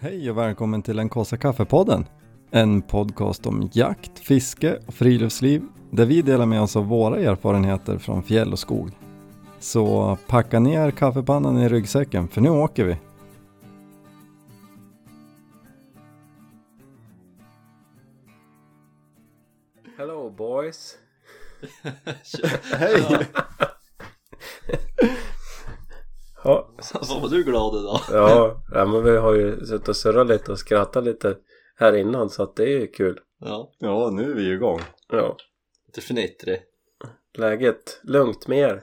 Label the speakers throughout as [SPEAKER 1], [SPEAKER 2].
[SPEAKER 1] Hej och välkommen till den kaffe kaffepodden. En podcast om jakt, fiske och friluftsliv där vi delar med oss av våra erfarenheter från fjäll och skog. Så packa ner kaffepannan i ryggsäcken för nu åker vi.
[SPEAKER 2] Hello boys.
[SPEAKER 1] Hej!
[SPEAKER 2] Ja,
[SPEAKER 3] Alltså var du glad idag?
[SPEAKER 2] ja, ja men vi har ju suttit och surrat lite och skrattat lite här innan så att det är ju kul.
[SPEAKER 3] Ja,
[SPEAKER 1] Ja, nu är vi igång.
[SPEAKER 2] Ja,
[SPEAKER 3] lite fnittrig.
[SPEAKER 2] läget lugnt med er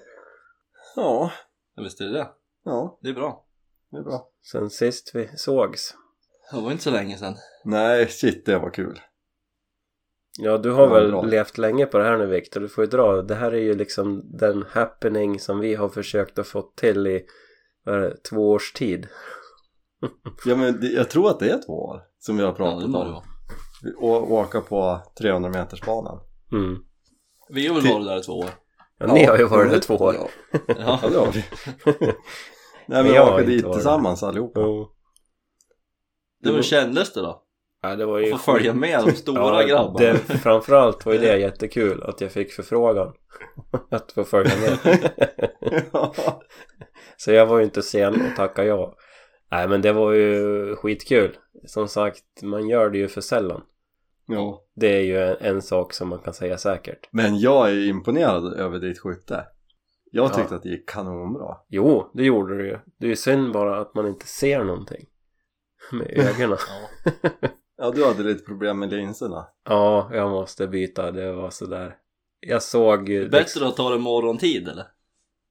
[SPEAKER 1] Ja,
[SPEAKER 3] Ja, visst är det det.
[SPEAKER 1] ja,
[SPEAKER 3] Det är bra.
[SPEAKER 1] det är bra.
[SPEAKER 2] sen sist vi sågs.
[SPEAKER 3] Det var inte så länge sedan.
[SPEAKER 1] Nej, shit det var kul.
[SPEAKER 2] Ja, du har
[SPEAKER 1] Ja,
[SPEAKER 2] väl
[SPEAKER 1] bra.
[SPEAKER 2] levt länge på det här nu Viktor, du får ju dra. Det här är ju liksom den happening som vi har försökt att få till i vad är det, två års tid.
[SPEAKER 1] Ja, men det- jag tror att det är två år som vi har
[SPEAKER 3] det må det vara.
[SPEAKER 1] Och åka på 300 metersbanan.
[SPEAKER 2] Mm.
[SPEAKER 3] Vi har väl varit där i två år.
[SPEAKER 2] Ja, ni har ju varit där två år.
[SPEAKER 1] Ja,
[SPEAKER 3] Ja.
[SPEAKER 1] det har vi. Nej,
[SPEAKER 2] Men
[SPEAKER 1] men
[SPEAKER 2] jag har
[SPEAKER 1] åka
[SPEAKER 2] inte
[SPEAKER 1] dit
[SPEAKER 2] varit.
[SPEAKER 1] tillsammans allihopa.
[SPEAKER 2] Ja.
[SPEAKER 3] Det var hur kändes det då?
[SPEAKER 2] Ja, det var
[SPEAKER 3] Att
[SPEAKER 2] ju
[SPEAKER 3] få följa med de stora grabbarna.
[SPEAKER 2] Det, framförallt var ju det jättekul att jag fick förfrågan att få följa med.
[SPEAKER 1] Ja.
[SPEAKER 2] Så jag var ju inte sen att tacka ja. Nej men det var ju skitkul. Som sagt, man gör det ju för sällan.
[SPEAKER 1] ja.
[SPEAKER 2] Det är ju en, en sak som man kan säga säkert.
[SPEAKER 1] Men jag är imponerad över ditt skytte. Jag
[SPEAKER 2] Ja.
[SPEAKER 1] tyckte att det gick kanonbra.
[SPEAKER 2] Jo, det gjorde du ju. Det är ju synd bara att man inte ser någonting. Med ögonen.
[SPEAKER 3] Ja.
[SPEAKER 1] Ja, du hade lite problem med linserna.
[SPEAKER 2] ja, jag måste byta. Det var sådär. Jag såg... ju-
[SPEAKER 3] Bättre att ta det morgontid eller?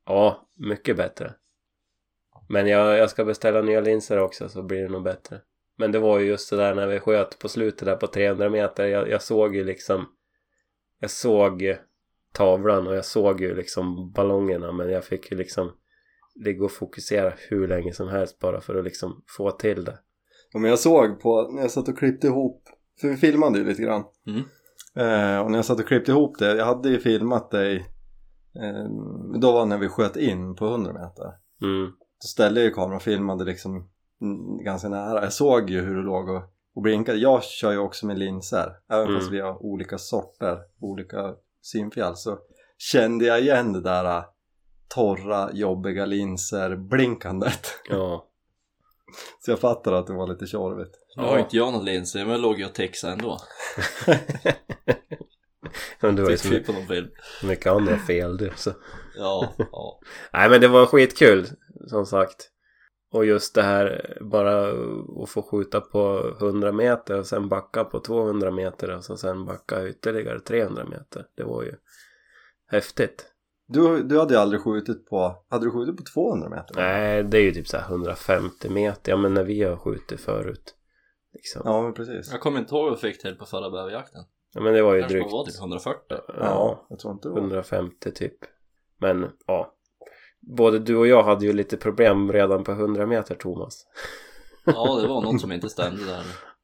[SPEAKER 2] Ja, mycket bättre. Men jag, jag ska beställa nya linser också så blir det nog bättre. Men det var ju just det där när vi sköt på slutet där på 300 meter. Jag, jag såg ju liksom... Jag såg ju tavlan och jag såg ju liksom ballongerna men jag fick ju liksom ligga och fokusera hur länge som helst bara för att liksom få till det.
[SPEAKER 1] Ja, men jag såg på, när jag satt och klippte ihop, för vi filmade ju lite grann.
[SPEAKER 3] Mm.
[SPEAKER 1] Eh, och när jag satt och klippte ihop det, jag hade ju filmat dig, eh, då var när vi sköt in på 100 meter.
[SPEAKER 2] Mm.
[SPEAKER 1] Då ställde jag ju kameran och filmade liksom mm, ganska nära. Jag såg ju hur du låg och, och blinkade. Jag kör ju också med linser, även
[SPEAKER 2] Mm.
[SPEAKER 1] fast vi har olika sorter, olika synfjäll. Så kände jag igen det där eh, torra, jobbiga linser-blinkandet.
[SPEAKER 2] Ja.
[SPEAKER 1] Så jag fattar att det var lite tjorvigt.
[SPEAKER 3] Nu har inte jag någon linser men låg jag och textade ändå.
[SPEAKER 2] Men du har ju
[SPEAKER 3] Tittade
[SPEAKER 2] så
[SPEAKER 3] vi
[SPEAKER 2] mycket-
[SPEAKER 3] på någon film.
[SPEAKER 2] mycket andra fel du så.
[SPEAKER 3] Ja, ja.
[SPEAKER 2] Nej men det var skitkul som sagt. Och just det här bara att få skjuta på 100 meter och sen backa på 200 meter och så sen backa ytterligare 300 meter. Det var ju häftigt.
[SPEAKER 1] Du, du hade ju aldrig skjutit på, hade du skjutit på 200 meter?
[SPEAKER 2] Nej, det är ju typ så här 150 meter. Ja men när vi har skjutit förut. Liksom. Ja.
[SPEAKER 1] Ja men precis.
[SPEAKER 3] Jag kommer inte ihåg vad jag fick till på förra bäverjakten.
[SPEAKER 2] men det var ju
[SPEAKER 3] Kanske man
[SPEAKER 2] drygt.
[SPEAKER 3] var typ 140.
[SPEAKER 1] Ja, jag tror inte det var.
[SPEAKER 2] 150 typ. Men ja. Både du och jag hade ju lite problem redan på 100 meter Thomas.
[SPEAKER 3] Ja, det var något som inte stämde där.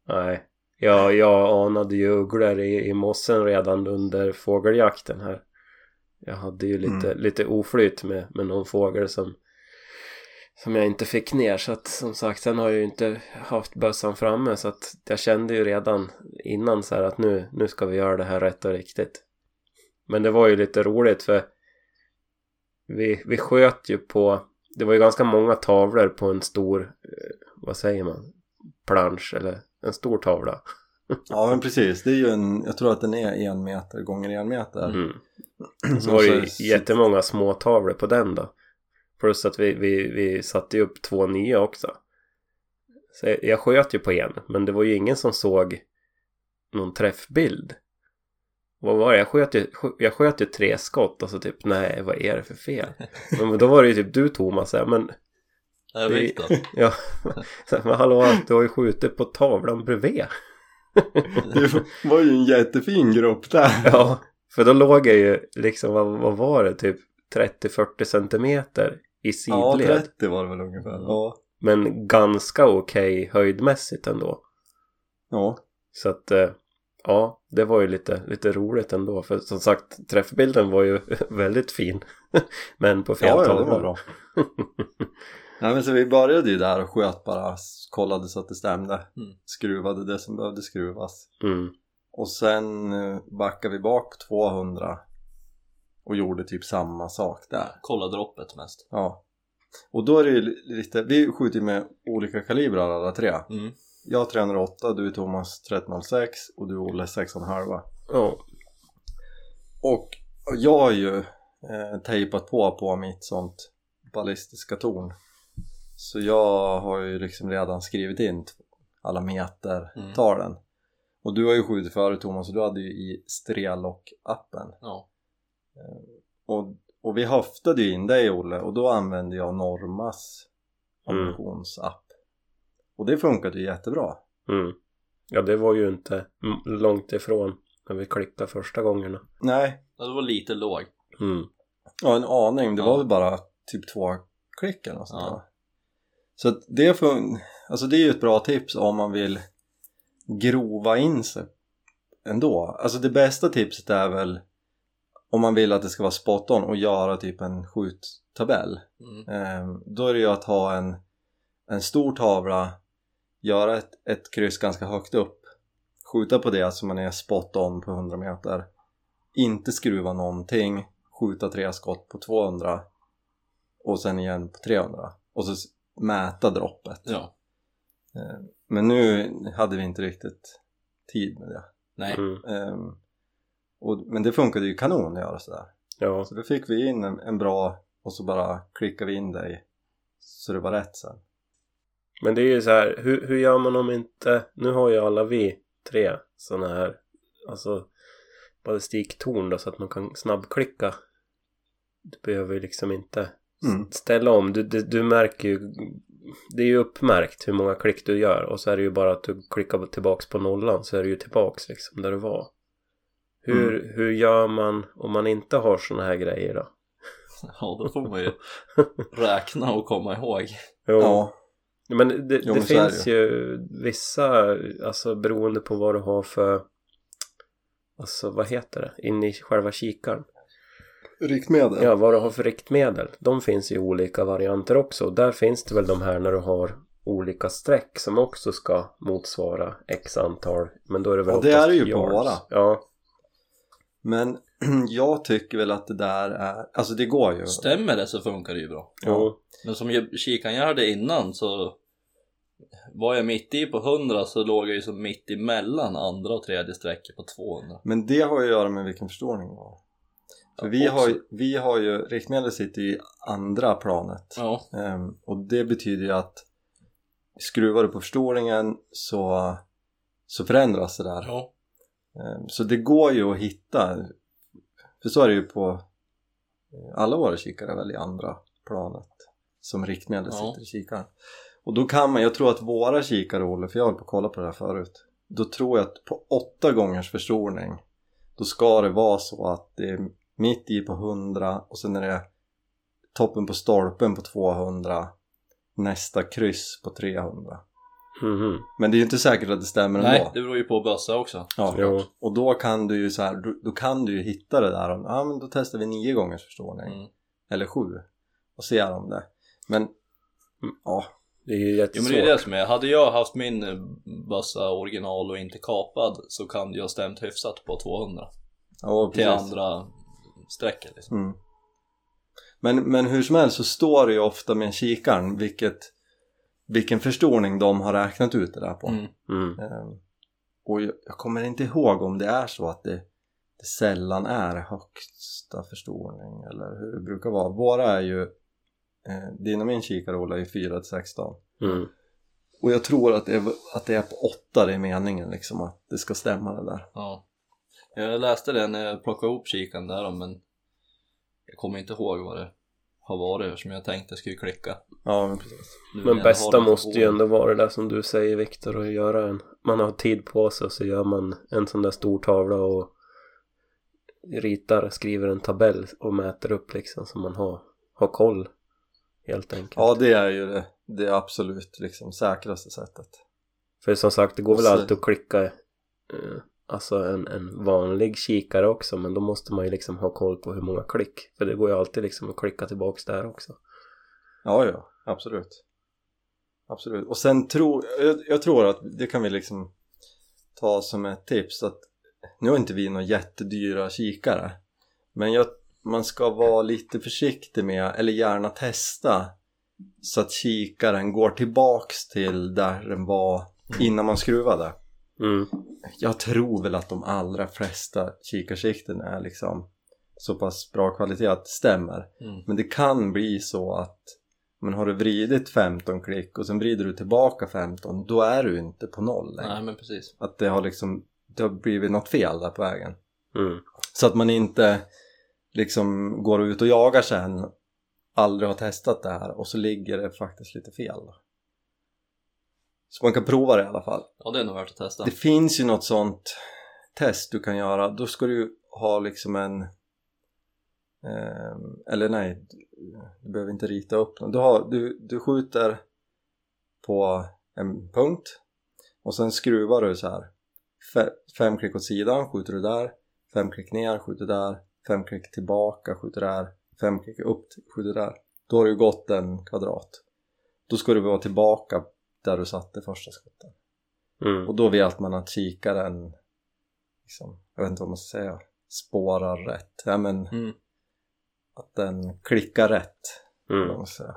[SPEAKER 2] Nej. Jag, jag anade ju ugglor i, i mossen redan under fågeljakten här. Jag hade ju lite, lite oflyt med, med någon fågel som, som jag inte fick ner. Så att som sagt, sen har jag ju inte haft bössan framme. Så att jag kände ju redan innan så här att nu, nu ska vi göra det här rätt och riktigt. Men det var ju lite roligt för vi, vi sköt ju på, det var ju ganska många tavlor på en stor, eh, vad säger man, plansch eller en stor tavla.
[SPEAKER 1] Ja men precis, det är ju en, jag tror att den är en meter gånger en meter.
[SPEAKER 2] Mm.
[SPEAKER 1] Och
[SPEAKER 2] Så var det
[SPEAKER 1] så-
[SPEAKER 2] ju jättemånga små tavlor på den då. Plus att vi, vi, vi satte ju upp två nya också. Så jag- jag sköt ju på en, men det var ju ingen som såg någon träffbild. Vad var det? Jag sköt ju, skö- jag sköt ju tre skott och så typ nej, vad är det för fel? Men då var det ju typ du Thomas, så här, men
[SPEAKER 3] Det är Viktor.
[SPEAKER 2] ja, så här, men hallå, du har ju skjutit på tavlan bredvid.
[SPEAKER 1] Det var ju en jättefin grupp där.
[SPEAKER 2] Ja, för då låg jag ju liksom, vad, vad var det, typ 30-40 centimeter i
[SPEAKER 1] Ja,
[SPEAKER 2] sidled.
[SPEAKER 1] 30 var det väl ungefär. Ja.
[SPEAKER 2] men ganska okej höjdmässigt ändå.
[SPEAKER 1] ja.
[SPEAKER 2] Så att, eh, ja, det var ju lite, lite roligt ändå. För som sagt, träffbilden var ju väldigt fin. men på fel
[SPEAKER 1] Ja, ja, det
[SPEAKER 2] tavla.
[SPEAKER 1] var bra. Nej men så vi började ju där och sköt bara, kollade så att det stämde. Skruvade det som behövde skruvas.
[SPEAKER 2] Mm.
[SPEAKER 1] Och sen eh, backade vi bak 200 och gjorde typ samma sak där.
[SPEAKER 3] Kolla droppet mest.
[SPEAKER 1] Ja. Och då är det ju li- lite, vi skjuter ju med olika kalibrar alla tre.
[SPEAKER 3] Mm.
[SPEAKER 1] Jag 308, du Thomas 306 och du Olle 6,5.
[SPEAKER 2] Ja.
[SPEAKER 1] Och jag har ju eh, tejpat på på mitt sånt ballistiska torn. Så jag har ju liksom redan skrivit in t- alla meter
[SPEAKER 3] Mm.
[SPEAKER 1] talen. Och du har ju skjutit förut Thomas och du hade ju i Strelok-appen.
[SPEAKER 3] Ja.
[SPEAKER 1] Och, och vi höftade ju in dig Olle och då använde jag Normas
[SPEAKER 2] Mm.
[SPEAKER 1] ammunitionsapp. Och det funkade ju jättebra.
[SPEAKER 2] Mm. Ja, det var ju inte m- långt ifrån när vi klippte första gångerna.
[SPEAKER 1] Nej,
[SPEAKER 3] Ja, Det var lite låg.
[SPEAKER 2] Mm.
[SPEAKER 1] ja en aning. Det var
[SPEAKER 3] Ja.
[SPEAKER 1] väl bara typ två klick eller något sånt
[SPEAKER 3] Ja.
[SPEAKER 1] där. Så att det, fun- alltså det är ju ett bra tips om man vill grova in sig ändå. Alltså det bästa tipset är väl om man vill att det ska vara spot on och göra typ en skjuttabell.
[SPEAKER 3] Mm.
[SPEAKER 1] Ehm, då är det ju att ha en, en stor tavla, göra ett, ett kryss ganska högt upp, skjuta på det så man är spot on på 100 meter, inte skruva någonting, skjuta tre skott på 200 och sen igen på 300 och så s- mäta droppet.
[SPEAKER 3] Ja.
[SPEAKER 1] Ehm, men nu hade vi inte riktigt tid med det.
[SPEAKER 3] Nej.
[SPEAKER 2] Mm.
[SPEAKER 1] Ehm, och, men det funkade ju kanon att göra sådär.
[SPEAKER 2] Ja.
[SPEAKER 1] Så då fick vi in en, en bra och så bara klickade vi in dig så det var rätt sen.
[SPEAKER 2] Men det är ju så här, hur, hur gör man om inte... Nu har ju alla vi tre såna här, alltså ballistiktorn då så att man kan snabbklicka. Du behöver ju liksom inte
[SPEAKER 1] Mm.
[SPEAKER 2] ställa om. Du, du, du märker ju... Det är ju uppmärkt hur många klick du gör och så är det ju bara att du klickar tillbaks på nollan så är du ju tillbaks liksom där du var. Hur,
[SPEAKER 1] Mm.
[SPEAKER 2] hur gör man om man inte har såna här grejer då?
[SPEAKER 3] Ja, då får man ju räkna och komma ihåg.
[SPEAKER 2] Jo.
[SPEAKER 1] Ja,
[SPEAKER 2] Men det,
[SPEAKER 1] Jo,
[SPEAKER 2] det
[SPEAKER 1] men så är det
[SPEAKER 2] finns ju vissa, alltså beroende på vad du har för, alltså vad heter det, inne i själva kikaren.
[SPEAKER 1] riktmedel.
[SPEAKER 2] Ja, vad du har för riktmedel. De finns ju olika varianter också. Där finns det väl de här när du har olika streck som också ska motsvara x antal. Men då är det väl
[SPEAKER 1] Ja, det är
[SPEAKER 2] oftast
[SPEAKER 1] det ju
[SPEAKER 2] yards.
[SPEAKER 1] bara.
[SPEAKER 2] Ja,
[SPEAKER 1] Men jag tycker väl att det där är, alltså det går ju.
[SPEAKER 3] Stämmer det så funkar det ju bra.
[SPEAKER 2] jo.
[SPEAKER 3] Men som jag- kikaren jag hade innan så var jag mitt i på 100 så låg jag ju som mitt emellan andra och tredje strecket på 200.
[SPEAKER 1] Men det har ju att göra med vilken förståning du har. För
[SPEAKER 3] Ja,
[SPEAKER 1] vi har,
[SPEAKER 3] också.
[SPEAKER 1] ju- vi har ju, riktmedel sitter ju i andra planet.
[SPEAKER 3] Ja,
[SPEAKER 1] Ehm, och det betyder ju att skruvar du på förstoringen så, så förändras det där.
[SPEAKER 3] ja.
[SPEAKER 1] Ehm, Så det går ju att hitta, för så är det ju på eh, alla våra kikare väl i andra planet som riktmedel
[SPEAKER 3] Ja.
[SPEAKER 1] sitter i kikaren. Och då kan man, jag tror att våra kikare Olle, för jag höll på att kolla på det här förut, då tror jag att på åtta gångers förstoring då ska det vara så att det är mitt i på 100 och sen är det toppen på stolpen på 200 nästa kryss på 300
[SPEAKER 2] Mhm.
[SPEAKER 1] men det är ju inte säkert att det stämmer ändå
[SPEAKER 3] Nej, det beror ju på bössa också.
[SPEAKER 1] Ja,
[SPEAKER 2] Jo.
[SPEAKER 1] och då kan du ju så här, då, då kan du ju hitta det där om, ja men då testar vi nio gångers förståning
[SPEAKER 3] Mm.
[SPEAKER 1] eller sju och ser om det. Men
[SPEAKER 3] Mm.
[SPEAKER 1] ja,
[SPEAKER 2] Det är ju
[SPEAKER 3] Jo
[SPEAKER 2] jättesvårt.
[SPEAKER 3] men det är det som är, hade jag haft min eh, bössa original och inte kapad så kan jag stämt hyfsat på 200
[SPEAKER 1] ja
[SPEAKER 3] till
[SPEAKER 1] precis.
[SPEAKER 3] andra strecket liksom.
[SPEAKER 1] Mm. Men, men hur som helst så står det ju ofta med kikaren vilket, vilken förstoring de har räknat ut det där på.
[SPEAKER 3] Mm.
[SPEAKER 2] Mm.
[SPEAKER 1] Ehm, och jag, jag kommer inte ihåg om det är så att det, det sällan är högsta förstoring eller hur det brukar vara. Våra är ju, eh, din och min kikare Ola är ju 4 till 16.
[SPEAKER 2] Mm.
[SPEAKER 1] Och jag tror att det är, att det är på åtta det är meningen liksom att det ska stämma det där.
[SPEAKER 3] Ja. Jag läste det när jag plockade ihop kikaren där då, men jag kommer inte ihåg vad det har varit som jag tänkte skulle klicka.
[SPEAKER 1] Ja men precis.
[SPEAKER 3] Nu när
[SPEAKER 2] Men
[SPEAKER 3] jag
[SPEAKER 2] bästa
[SPEAKER 3] har den
[SPEAKER 2] måste ju
[SPEAKER 3] på
[SPEAKER 2] ändå vara det där som du säger Viktor att göra en. Man har tid på sig och så gör man en sån där stor tavla och ritar, skriver en tabell och mäter upp liksom så man har, har koll helt enkelt.
[SPEAKER 1] Ja det är ju det, det absolut liksom säkraste sättet.
[SPEAKER 2] För som sagt det går väl
[SPEAKER 1] Så-
[SPEAKER 2] alltid att klicka eh, alltså en, en vanlig kikare också men då måste man ju liksom ha koll på hur många klick för det går ju alltid liksom att klicka tillbaks där också.
[SPEAKER 1] Ja ja, Absolut. Absolut. Och sen tror jag, jag tror att det kan vi liksom ta som ett tips att nu har inte vi några jättedyra kikare men jag, man ska vara lite försiktig med eller gärna testa så att kikaren går tillbaks till där den var innan man skruvade.
[SPEAKER 2] Mm.
[SPEAKER 1] Jag tror väl att de allra flesta kikarsikten är liksom så pass bra kvalitet att det stämmer.
[SPEAKER 3] Mm.
[SPEAKER 1] Men det kan bli så att men har du vridit 15 klick och sen vrider du tillbaka 15 då är du inte på noll längre.
[SPEAKER 3] Nej men precis.
[SPEAKER 1] Att det har liksom det har blivit något fel där på vägen.
[SPEAKER 2] Mm.
[SPEAKER 1] Så att man inte liksom går ut och jagar sen aldrig har testat det här och så ligger det faktiskt lite fel. då. Så man kan prova det i alla fall.
[SPEAKER 3] Ja det är nog värt att testa.
[SPEAKER 1] Det finns ju något sånt test du kan göra. Då ska du ha liksom en... ehm, eller nej, du behöver inte rita upp något. Du, har, du, du skjuter på en punkt och sen skruvar du så här. Fe, fem klick åt sidan skjuter du där, fem klick ner skjuter där, fem klick tillbaka skjuter där, fem klick upp skjuter där. Då har du gått en kvadrat. Då ska du vara tillbaka där du satte första skottet.
[SPEAKER 2] Mm.
[SPEAKER 1] Och då vet man att kikaren, liksom, jag vet inte vad man ska säga, spårar rätt. Ja, men
[SPEAKER 3] Mm.
[SPEAKER 1] att den klickar rätt.
[SPEAKER 2] Mm.
[SPEAKER 1] vad man ska säga.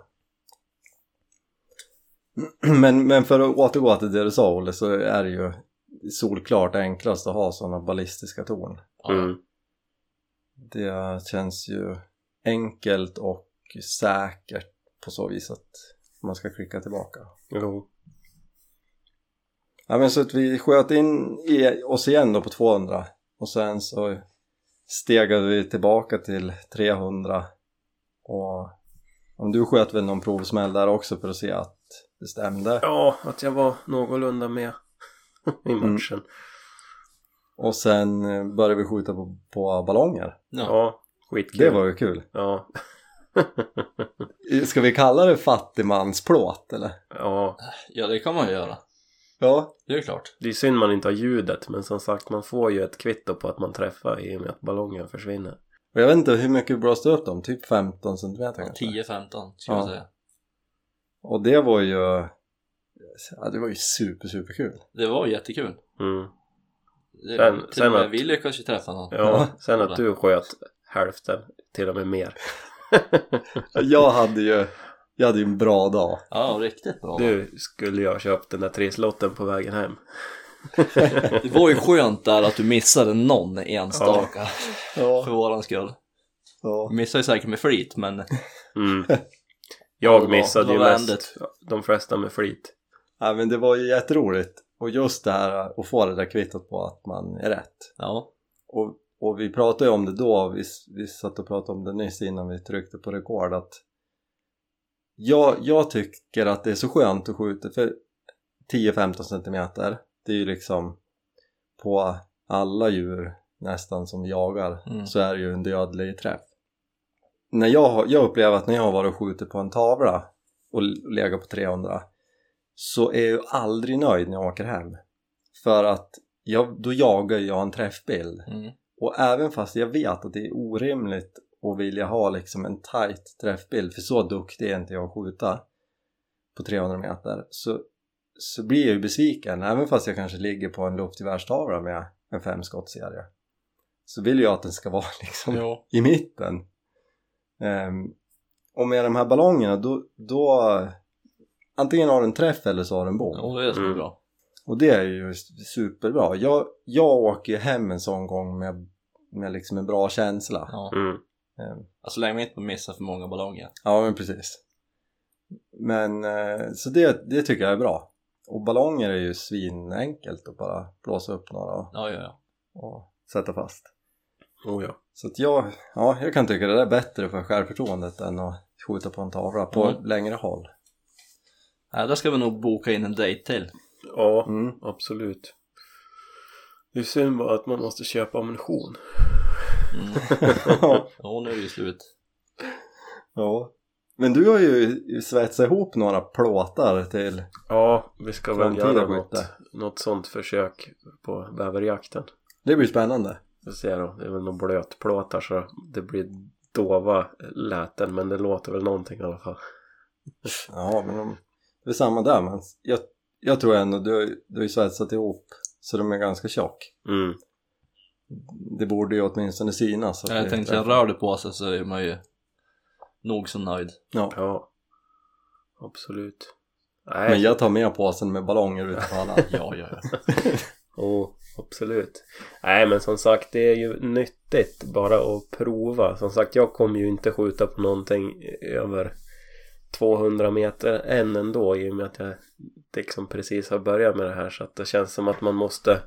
[SPEAKER 1] Men, men för att återgå till det du sa Olle så är det ju solklart enklast att ha sådana ballistiska torn.
[SPEAKER 3] Ja.
[SPEAKER 2] Mm.
[SPEAKER 1] Det känns ju enkelt och säkert på så vis att man ska klicka tillbaka.
[SPEAKER 2] Jo.
[SPEAKER 1] Ja men så att vi sköt in i oss igen då på 200 och sen så stegade vi tillbaka till 300 och om du sköt väl någon provsmäll där också för att se att det stämde
[SPEAKER 2] Ja, att jag var någorlunda med i
[SPEAKER 1] Mm.
[SPEAKER 2] matchen.
[SPEAKER 1] och sen eh, började vi skjuta på, på ballonger.
[SPEAKER 3] Ja.
[SPEAKER 2] Ja, skitkul.
[SPEAKER 1] Det var ju kul.
[SPEAKER 2] Ja,
[SPEAKER 1] Ska vi kalla det fattigmansplåt eller?
[SPEAKER 2] ja.
[SPEAKER 3] ja det kan man ju göra.
[SPEAKER 1] Ja,
[SPEAKER 3] Det är ju klart.
[SPEAKER 2] Det är synd man inte har ljudet men som sagt man får ju ett kvitto på att man träffar i och med att ballongen försvinner.
[SPEAKER 1] och jag vet inte hur mycket vi blåste upp dem, typ 15 centimeter
[SPEAKER 3] Ja,
[SPEAKER 1] kanske.
[SPEAKER 3] 10-15 skulle jag
[SPEAKER 1] Ja.
[SPEAKER 3] säga.
[SPEAKER 1] Och det var ju, ja det var ju super super kul.
[SPEAKER 3] Det var jättekul.
[SPEAKER 2] Mm.
[SPEAKER 3] Det,
[SPEAKER 2] Sen-
[SPEAKER 3] till
[SPEAKER 2] sen
[SPEAKER 3] och med
[SPEAKER 2] att-
[SPEAKER 3] vi lyckades ju träffa någon.
[SPEAKER 2] Ja, sen att du sköt hälften, till och med mer.
[SPEAKER 1] Jag hade ju, jag hade ju en bra dag.
[SPEAKER 3] Ja, riktigt bra.
[SPEAKER 2] Du skulle ju ha köpt den där trisslotten på vägen hem.
[SPEAKER 3] Det var ju skönt där att du missade någon enstaka
[SPEAKER 1] Ja.
[SPEAKER 3] för våran skull.
[SPEAKER 1] Ja.
[SPEAKER 3] Missade ju säkert med flit men
[SPEAKER 2] Mm.
[SPEAKER 3] Ja, det
[SPEAKER 2] Jag
[SPEAKER 3] var-
[SPEAKER 2] missade
[SPEAKER 3] det
[SPEAKER 2] ju
[SPEAKER 3] var
[SPEAKER 2] mest
[SPEAKER 3] vänligt.
[SPEAKER 2] de flesta med flit.
[SPEAKER 1] ja men det var ju jätteroligt och just det här att få det där kvittot på att man är rätt
[SPEAKER 3] ja.
[SPEAKER 1] och, och vi pratade ju om det då, vi, vi satt och pratade om det nyss innan vi tryckte på rekord att jag, jag tycker att det är så skönt att skjuta för 10-15 centimeter det är ju liksom på alla djur nästan som jagar
[SPEAKER 3] Mm.
[SPEAKER 1] så är det ju en dödlig träff när jag, har- jag upplever att när jag har varit och skjutit på en tavla och legat på 300 så är jag ju aldrig nöjd när jag åker hem för att jag, då jagar jag en träffbild
[SPEAKER 3] Mm.
[SPEAKER 1] och även fast jag vet att det är orimligt att vilja ha liksom en tight träffbild, för så duktig är inte jag att skjuta på 300 meter, så, så blir jag ju besviken. Även fast jag kanske ligger på en luftgevärstavla med en femskottsserie så vill jag att den ska vara liksom
[SPEAKER 3] Ja.
[SPEAKER 1] i mitten. Ehm, och med de här ballongerna då, då antingen har du en träff eller så har du en bom.
[SPEAKER 3] Och det är så
[SPEAKER 2] Mm.
[SPEAKER 3] bra.
[SPEAKER 1] Och det är ju superbra. Jag, jag åker ju hem en sån gång med, med liksom en bra känsla. Ja.
[SPEAKER 3] Ja.
[SPEAKER 2] Mm.
[SPEAKER 3] Alltså länge vi inte missar för många ballonger.
[SPEAKER 1] men precis. Men eh, så det, det tycker jag är bra. Och ballonger är ju svinenkelt att bara blåsa upp några och,
[SPEAKER 3] Ja, ja, ja.
[SPEAKER 1] och sätta fast.
[SPEAKER 2] Oh, ja.
[SPEAKER 1] Så att jag, ja, jag kan tycka det där är bättre för självförtroendet än att skjuta på en tavla på
[SPEAKER 3] Mm.
[SPEAKER 1] längre håll.
[SPEAKER 3] Nej, där ska vi nog boka in en dejt till.
[SPEAKER 2] ja,
[SPEAKER 1] Mm.
[SPEAKER 2] absolut. Det är synd bara att man måste köpa ammunition.
[SPEAKER 3] Mm. Ja, nu är det ju slut.
[SPEAKER 1] ja. Men du har ju svetsat ihop några plåtar till
[SPEAKER 2] Ja, vi ska väl
[SPEAKER 1] Framtida
[SPEAKER 2] göra
[SPEAKER 1] skytte.
[SPEAKER 2] något, något sånt försök på bäverjakten.
[SPEAKER 1] Det blir spännande.
[SPEAKER 2] Vi ser då, det är väl någon blötplåtar så det blir dova läten men det låter väl någonting i alla fall.
[SPEAKER 3] typ.
[SPEAKER 1] Ja, men de, det är samma där. Men jag, jag tror ändå, du, har- du har ju svetsat ihop så de är ganska tjock.
[SPEAKER 2] Mm.
[SPEAKER 1] Det borde ju åtminstone synas. att det är
[SPEAKER 3] Jag tänkte
[SPEAKER 1] träff.
[SPEAKER 3] jag rör det på sig så är man ju nog så nöjd.
[SPEAKER 1] Ja.
[SPEAKER 2] Ja. Absolut. Nej.
[SPEAKER 1] Men jag tar med påsen med ballonger ute på alla.
[SPEAKER 3] Ja, ja, ja.
[SPEAKER 2] Oh, absolut. Nej men som sagt det är ju nyttigt bara att prova. Som sagt jag kommer ju inte skjuta på någonting över 200 meter än ändå i och med att jag liksom precis har börjat med det här så att det känns som att man måste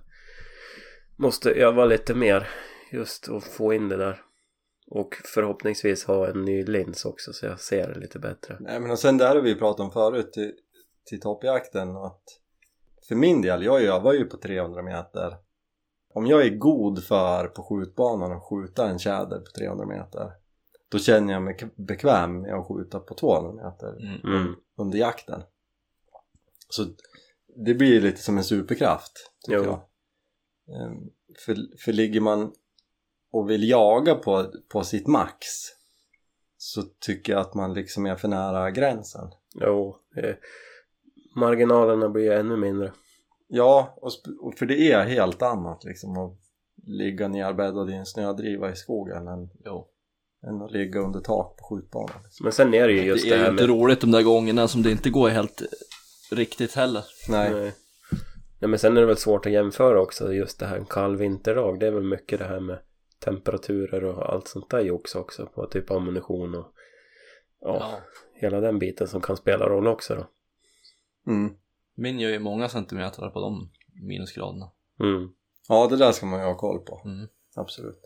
[SPEAKER 2] måste öva lite mer just att få in det där. Och förhoppningsvis ha en ny lins också så jag ser det lite bättre.
[SPEAKER 1] Nej men och sen där har vi pratat om förut till, till toppjakten att för min del, jag övar ju på 300 meter. Om jag är god för på skjutbanan att skjuta en tjäder på 300 meter då känner jag mig k- bekväm med att skjuta på 200 meter
[SPEAKER 3] Mm.
[SPEAKER 2] Mm.
[SPEAKER 1] under jakten. Så det blir lite som en superkraft tycker
[SPEAKER 2] Jo.
[SPEAKER 1] jag. Ehm, För, för ligger man och vill jaga på, på sitt max så tycker jag att man liksom är för nära gränsen.
[SPEAKER 2] Jo, eh, marginalerna blir ännu mindre.
[SPEAKER 1] Ja, och, sp- och för det är helt annat liksom att ligga nerbäddad i en snödriva i skogen än,
[SPEAKER 3] Jo.
[SPEAKER 1] än att ligga under tak på skjutbanan.
[SPEAKER 2] Men sen är det ju just det,
[SPEAKER 3] det är ju
[SPEAKER 2] här
[SPEAKER 3] inte
[SPEAKER 2] med...
[SPEAKER 3] roligt de där gångerna som det inte går helt riktigt heller.
[SPEAKER 1] Nej,
[SPEAKER 2] Nej. Nej men sen är det väl svårt att jämföra också just det här en kall vinterdag. Det är väl mycket det här med temperaturer och allt sånt där jox också på typ ammunition och ja, hela den biten som kan spela roll också då.
[SPEAKER 1] Mm.
[SPEAKER 3] Min gör ju många centimeter på de minusgraderna.
[SPEAKER 2] Mm.
[SPEAKER 1] ja det där ska man ju ha koll på,
[SPEAKER 3] Mm.
[SPEAKER 1] absolut.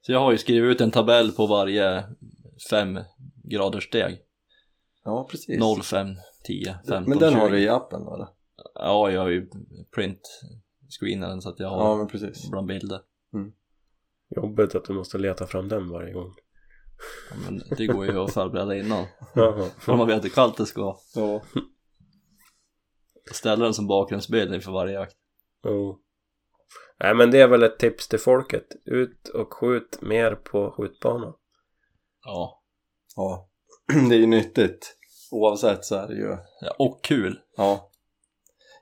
[SPEAKER 3] Så jag har ju skrivit ut en tabell på varje fem graders steg.
[SPEAKER 1] Ja, precis.
[SPEAKER 3] 0, 5, 10, 15,
[SPEAKER 1] Men den har
[SPEAKER 3] 20.
[SPEAKER 1] du i appen då eller?
[SPEAKER 3] Ja, jag har ju print-screenat den så att jag har
[SPEAKER 1] Ja, men precis.
[SPEAKER 3] bland bilder.
[SPEAKER 2] Jobbigt att du måste leta fram den varje gång.
[SPEAKER 3] Ja, men det går ju att förbereda innan.
[SPEAKER 2] Jaha.
[SPEAKER 3] För man vet hur kallt det ska vara.
[SPEAKER 1] Ja.
[SPEAKER 3] Ställa den som bakgrundsbild inför varje jakt.
[SPEAKER 2] Jo. Oh. Nej men det är väl ett tips till folket. Ut och skjut mer på skjutbanan.
[SPEAKER 3] Ja.
[SPEAKER 1] ja, det är ju nyttigt. Oavsett så är det ju
[SPEAKER 3] ja och kul.
[SPEAKER 1] Ja.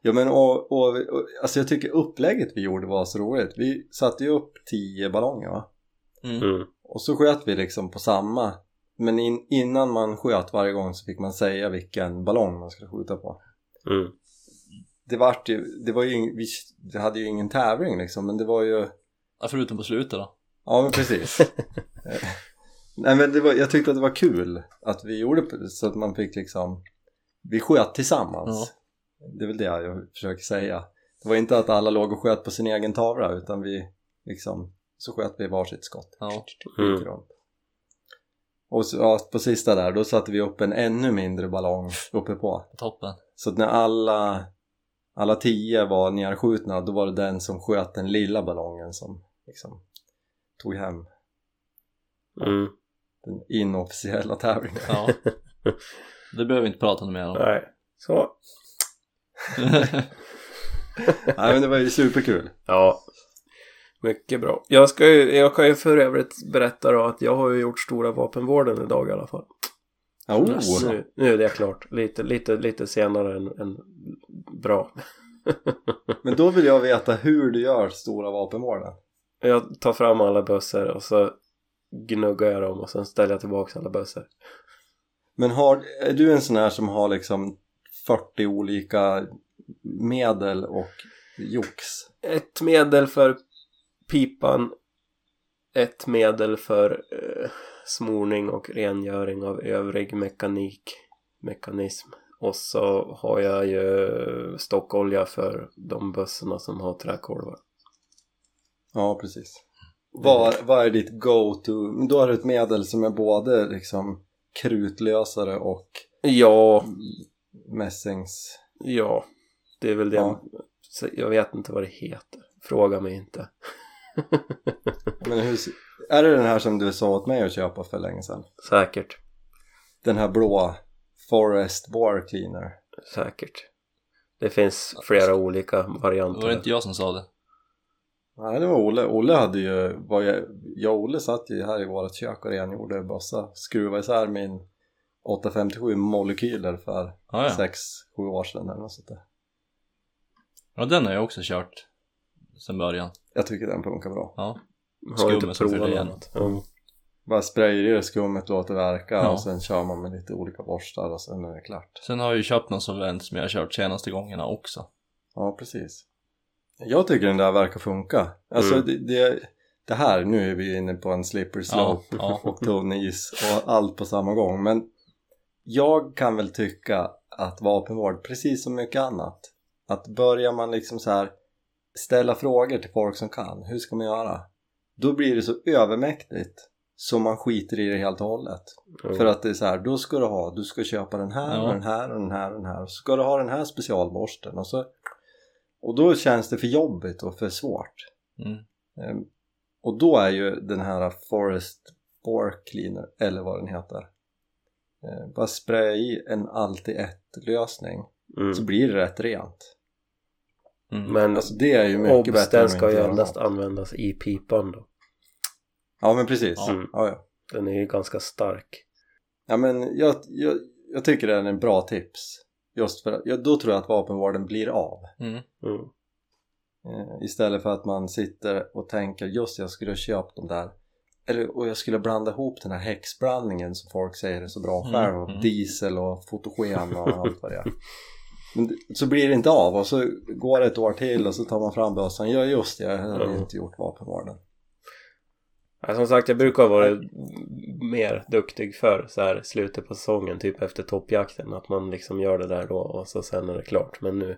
[SPEAKER 1] Ja men och, och, och, alltså jag tycker upplägget vi gjorde var så roligt. Vi satte ju upp tio ballonger va?
[SPEAKER 3] Mm.
[SPEAKER 2] Mm.
[SPEAKER 1] Och så sköt vi liksom på samma. Men in, innan man sköt varje gång så fick man säga vilken ballong man skulle skjuta på.
[SPEAKER 2] Mm.
[SPEAKER 1] Det, vart ju, det var ju, ing- vi det hade ju ingen tävling liksom men det var ju,
[SPEAKER 3] Ja, förutom på slutet då.
[SPEAKER 1] ja men precis. Eh, Nej men det var, jag tyckte att det var kul att vi gjorde på- så att man fick liksom, vi sköt tillsammans.
[SPEAKER 3] Ja.
[SPEAKER 1] Det är väl det jag försöker säga. Det var inte att alla låg och sköt på sin egen tavla utan vi liksom så sköt vi varsitt skott.
[SPEAKER 3] Ja.
[SPEAKER 2] Mm.
[SPEAKER 1] Runt. Och så, ja, på sista där då satte vi upp en ännu mindre ballong uppe på.
[SPEAKER 3] Toppen.
[SPEAKER 1] Så att när alla, alla tio var nerskjutna då var det den som sköt den lilla ballongen som liksom tog hem
[SPEAKER 2] Mm.
[SPEAKER 1] den inofficiella tävlingen.
[SPEAKER 3] Ja. Det behöver vi inte prata mer om.
[SPEAKER 2] Nej. Så.
[SPEAKER 1] Nej men det var ju superkul.
[SPEAKER 2] Ja. Mycket bra. Jag, ska ju, jag kan ju för övrigt berätta då att jag har ju gjort stora vapenvården idag i alla fall.
[SPEAKER 1] Ja, oh.
[SPEAKER 2] Nu, nu är det klart. Lite, lite, lite senare än, än bra.
[SPEAKER 1] Men då vill jag veta hur du gör stora vapenmålen.
[SPEAKER 2] Jag tar fram alla bössor och så gnuggar jag dem och sen ställer jag tillbaka alla bössor.
[SPEAKER 1] Men har, är du en sån här som har liksom 40 olika medel och jox?
[SPEAKER 2] Ett medel för pipan. Ett medel för eh, smorning och rengöring av övrig mekanik, mekanism. Och så har jag ju stockolja för de bössorna som har träkolvar.
[SPEAKER 1] Ja, precis. Vad, vad är ditt go-to? Men Då har du ett medel som är både liksom krutlösare och
[SPEAKER 2] Ja,
[SPEAKER 1] mässings...
[SPEAKER 2] ja. Det är väl det.
[SPEAKER 1] Ja.
[SPEAKER 2] Så Jag vet inte vad det heter. Fråga mig inte.
[SPEAKER 1] Men hur, är det den här som du sa åt mig att köpa för länge sedan?
[SPEAKER 2] Säkert.
[SPEAKER 1] Den här blåa Forest Bar Cleaner.
[SPEAKER 2] Säkert. Det finns flera olika
[SPEAKER 3] Var det
[SPEAKER 2] varianter.
[SPEAKER 3] inte jag som sa det?
[SPEAKER 1] Nej, det var Olle. Olle hade ju... Var jag, jag och Olle satt ju här i vårt kök och rengjorde bössa. Skruvade isär min 857 molekyler för
[SPEAKER 3] Ja, ja.
[SPEAKER 1] 6-7 år sedan eller något sånt där.
[SPEAKER 3] ja, den har jag också kört sen början.
[SPEAKER 1] Jag tycker den funkar bra.
[SPEAKER 3] Ja,
[SPEAKER 2] Har inte
[SPEAKER 3] Skummet som
[SPEAKER 2] provat
[SPEAKER 3] fyller
[SPEAKER 2] något
[SPEAKER 3] igen.
[SPEAKER 2] annat. Ja.
[SPEAKER 1] Bara sprayar i det skummet, låter verka
[SPEAKER 3] Ja.
[SPEAKER 1] och sen kör man med lite olika borstar och sen är det klart.
[SPEAKER 3] sen har jag ju köpt någon solvent som jag har kört senaste gångerna också.
[SPEAKER 1] Ja, precis. Jag tycker den där verkar funka. Alltså
[SPEAKER 2] Mm.
[SPEAKER 1] det, det, det här, nu är vi inne på en slippery slope
[SPEAKER 3] Ja, ja.
[SPEAKER 1] och tunn is och allt på samma gång. Men jag kan väl tycka att vapenvård, precis som mycket annat, att börjar man liksom så här ställa frågor till folk som kan, hur ska man göra? Då blir det så övermäktigt så man skiter i det helt och hållet.
[SPEAKER 2] Ja.
[SPEAKER 1] För att det är så här, då ska du ha, du ska köpa den här
[SPEAKER 3] Ja.
[SPEAKER 1] och den här och den här och den här. Och så ska du ha den här specialborsten och så. Och då känns det för jobbigt och för svårt.
[SPEAKER 3] Mm.
[SPEAKER 1] Ehm, Och då är ju den här Forest Bore Cleaner, eller vad den heter. ehm, Bara spraya i en alltid ett lösning
[SPEAKER 2] Mm.
[SPEAKER 1] så blir det rätt rent.
[SPEAKER 3] Mm.
[SPEAKER 2] Men
[SPEAKER 1] Alltså det är ju mycket
[SPEAKER 2] obs,
[SPEAKER 1] bättre än
[SPEAKER 2] den
[SPEAKER 1] att
[SPEAKER 2] ska
[SPEAKER 1] inte
[SPEAKER 2] ju
[SPEAKER 1] göra
[SPEAKER 2] endast
[SPEAKER 1] något.
[SPEAKER 2] användas i pipan då.
[SPEAKER 1] Ja men precis.
[SPEAKER 3] Ja.
[SPEAKER 2] Mm.
[SPEAKER 1] Ja, ja.
[SPEAKER 2] Den är ju ganska stark.
[SPEAKER 1] ja men jag, jag, jag tycker den är en bra tips. Just för att, ja, då tror jag att vapenvården blir av.
[SPEAKER 3] Mm.
[SPEAKER 2] Mm.
[SPEAKER 1] Eh, Istället för att man sitter och tänker just jag skulle ha köpt de där eller, och jag skulle blanda ihop den här häxblandningen som folk säger är så bra
[SPEAKER 3] Mm,
[SPEAKER 1] själv och
[SPEAKER 3] mm.
[SPEAKER 1] diesel och fotogen och allt vad det är. Men det- så blir det inte av och så går det ett år till och så tar man fram bössan. Ja just det, jag hade
[SPEAKER 2] Ja.
[SPEAKER 1] inte gjort vapenvården.
[SPEAKER 2] Ja, som sagt, jag brukar vara mer duktig för så här slutet på säsongen, typ efter toppjakten. Att man liksom gör det där då och så sen är det klart. Men nu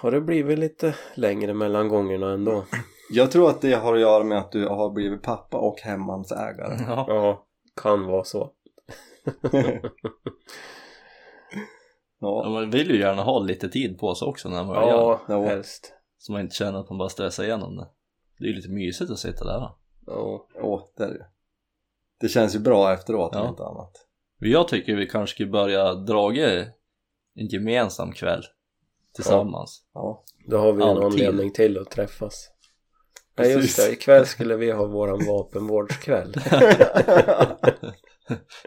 [SPEAKER 2] har det blivit lite längre mellan gångerna ändå.
[SPEAKER 1] Jag tror att det har att göra med att du har blivit pappa och hemmansägare.
[SPEAKER 3] Ja.
[SPEAKER 2] Ja, kan vara så.
[SPEAKER 3] Ja,
[SPEAKER 1] ja.
[SPEAKER 3] man vill ju gärna ha lite tid på sig också när man börjar.
[SPEAKER 2] Ja,
[SPEAKER 1] Ja.
[SPEAKER 2] helst.
[SPEAKER 3] Så man inte känner att man bara stressar igenom det. Det är ju lite mysigt att sitta där. va?
[SPEAKER 2] Ja,
[SPEAKER 1] Åh, det är det ju. Det känns ju bra efteråt om
[SPEAKER 3] Ja.
[SPEAKER 1] inte annat.
[SPEAKER 3] Men Jag tycker vi kanske skulle börja draga en gemensam kväll tillsammans.
[SPEAKER 1] Ja.
[SPEAKER 2] då har vi en
[SPEAKER 3] Alltid.
[SPEAKER 2] anledning till att träffas. Ja, just
[SPEAKER 1] Precis.
[SPEAKER 2] det. Ikväll skulle vi ha våran vapenvårdskväll.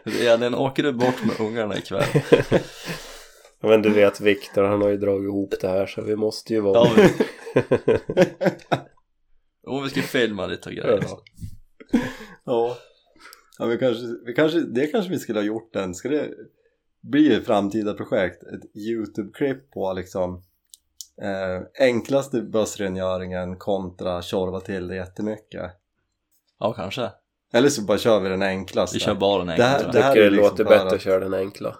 [SPEAKER 3] Ja. Den åker du bort med ungarna ikväll.
[SPEAKER 2] Ja, Men du vet Viktor, han har ju dragit ihop det här så vi måste ju vara...
[SPEAKER 3] Ja, vi, och vi ska filma lite och grejer.
[SPEAKER 2] Ja.
[SPEAKER 1] Ja, ja vi kanske, vi kanske, det kanske vi skulle ha gjort den. Ska det bli ett framtida projekt? Ett YouTube-klipp på liksom eh, enklaste bussrengöringen kontra tjorva till det jättemycket.
[SPEAKER 3] Ja, kanske.
[SPEAKER 1] Eller så bara kör vi den enklaste.
[SPEAKER 3] Vi kör bara den
[SPEAKER 1] Det här-
[SPEAKER 3] enkla.
[SPEAKER 2] Jag tycker
[SPEAKER 1] är
[SPEAKER 2] det
[SPEAKER 1] liksom
[SPEAKER 2] låter
[SPEAKER 1] bara
[SPEAKER 2] bättre
[SPEAKER 1] att-
[SPEAKER 2] att köra den enkla.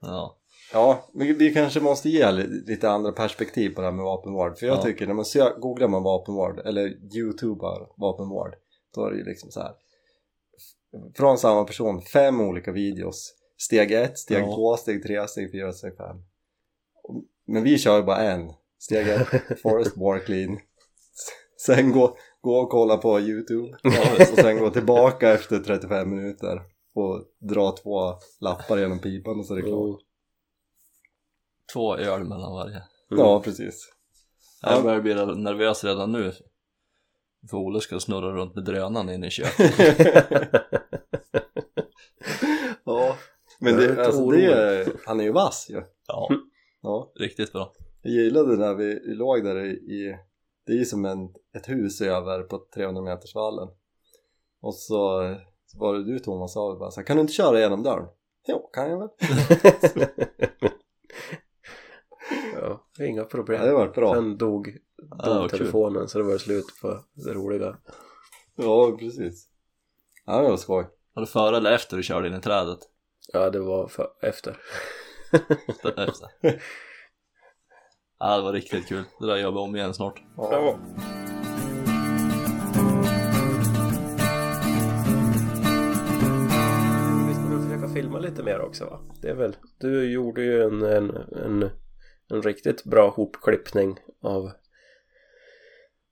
[SPEAKER 3] Ja.
[SPEAKER 1] Ja, vi, vi kanske måste ge li- lite andra perspektiv på det här med vapenvård. För jag
[SPEAKER 3] Ja.
[SPEAKER 1] tycker när man sö- googlar man vapenvård eller youtubar vapenvård då är det ju liksom så här. f- Från samma person, fem olika videos. Steg ett, steg
[SPEAKER 3] Ja.
[SPEAKER 1] två, steg tre, steg fyra, steg fem. Och- Men vi kör ju bara en. Steg ett, Forest War Clean. S- Sen gå, gå och kolla på YouTube. Och sen gå tillbaka efter 35 minuter och dra två lappar genom pipan och så är det klart.
[SPEAKER 2] Jo.
[SPEAKER 3] Två öl mellan varje.
[SPEAKER 2] Mm.
[SPEAKER 1] Ja, precis.
[SPEAKER 3] Jag börjar bli nervös redan nu. För Olle ska snurra runt med drönaren inne i köket.
[SPEAKER 1] Ja, men
[SPEAKER 2] Jag är
[SPEAKER 1] det,
[SPEAKER 2] lite
[SPEAKER 1] alltså
[SPEAKER 2] orolig.
[SPEAKER 1] det, han är ju vass ju.
[SPEAKER 3] Ja,
[SPEAKER 1] Ja.
[SPEAKER 3] riktigt bra.
[SPEAKER 1] Jag gillade när vi låg där i, i det är ju som en, ett hus över på 300 meters vallen. Och så, så var det du Thomas sa vi bara så här, kan du inte köra genom dörren? Jo, kan jag väl.
[SPEAKER 2] ja, inga
[SPEAKER 1] Ja, det
[SPEAKER 2] problem.
[SPEAKER 1] var bra.
[SPEAKER 2] Sen dog,
[SPEAKER 3] Ja,
[SPEAKER 2] dog
[SPEAKER 3] vad kul.
[SPEAKER 2] telefonen så det var slut på det roliga.
[SPEAKER 1] Ja, precis. Ja, det var skoj.
[SPEAKER 3] Var det före eller efter du körde in i trädet?
[SPEAKER 2] Ja, det var för, efter.
[SPEAKER 3] Efter. Ja, det var riktigt kul. Det där gör vi om igen snart.
[SPEAKER 1] Ja.
[SPEAKER 2] Vi ska väl försöka filma lite mer också va? Det är väl, du gjorde ju en, en, en, en riktigt bra hopklippning av,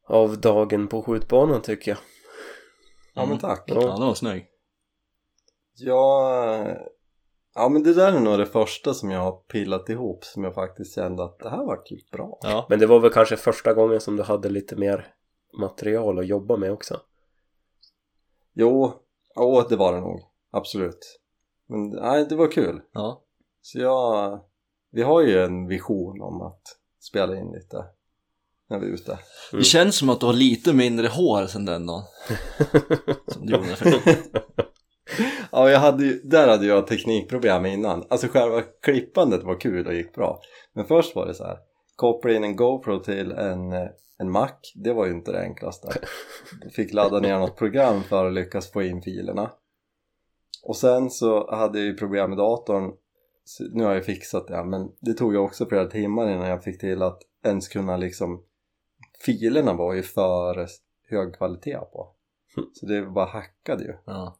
[SPEAKER 2] av dagen på skjutbanan tycker jag.
[SPEAKER 1] ja, men
[SPEAKER 3] Mm.
[SPEAKER 1] tack.
[SPEAKER 3] Ja, den var snygg.
[SPEAKER 1] Ja, ja, men det där är nog det första som jag har pillat ihop som jag faktiskt kände att det här var kul bra.
[SPEAKER 3] Ja,
[SPEAKER 2] Men det var väl kanske första gången som du hade lite mer material att jobba med också.
[SPEAKER 1] Jo, ja, det var det nog. Absolut. Men Men nej, det var kul.
[SPEAKER 3] Ja.
[SPEAKER 1] Så jag, vi har ju en vision om att spela in lite när vi är ute.
[SPEAKER 2] Mm.
[SPEAKER 3] Det känns som att du har lite mindre hår sen den dagen. som du gjorde för
[SPEAKER 1] Ja, jag hade ju, där hade jag teknikproblem innan. Alltså själva klippandet var kul och gick bra. Men först var det så här, koppla in en GoPro till en, eh, en Mac, det var ju inte det enklaste. Jag fick ladda ner något program för att lyckas få in filerna. Och sen så hade jag ju problem med datorn. Så nu har jag fixat det, men det tog ju också flera timmar innan jag fick till att ens kunna liksom... Filerna var ju för hög kvalitet på. Så det bara hackade ju.
[SPEAKER 3] ja.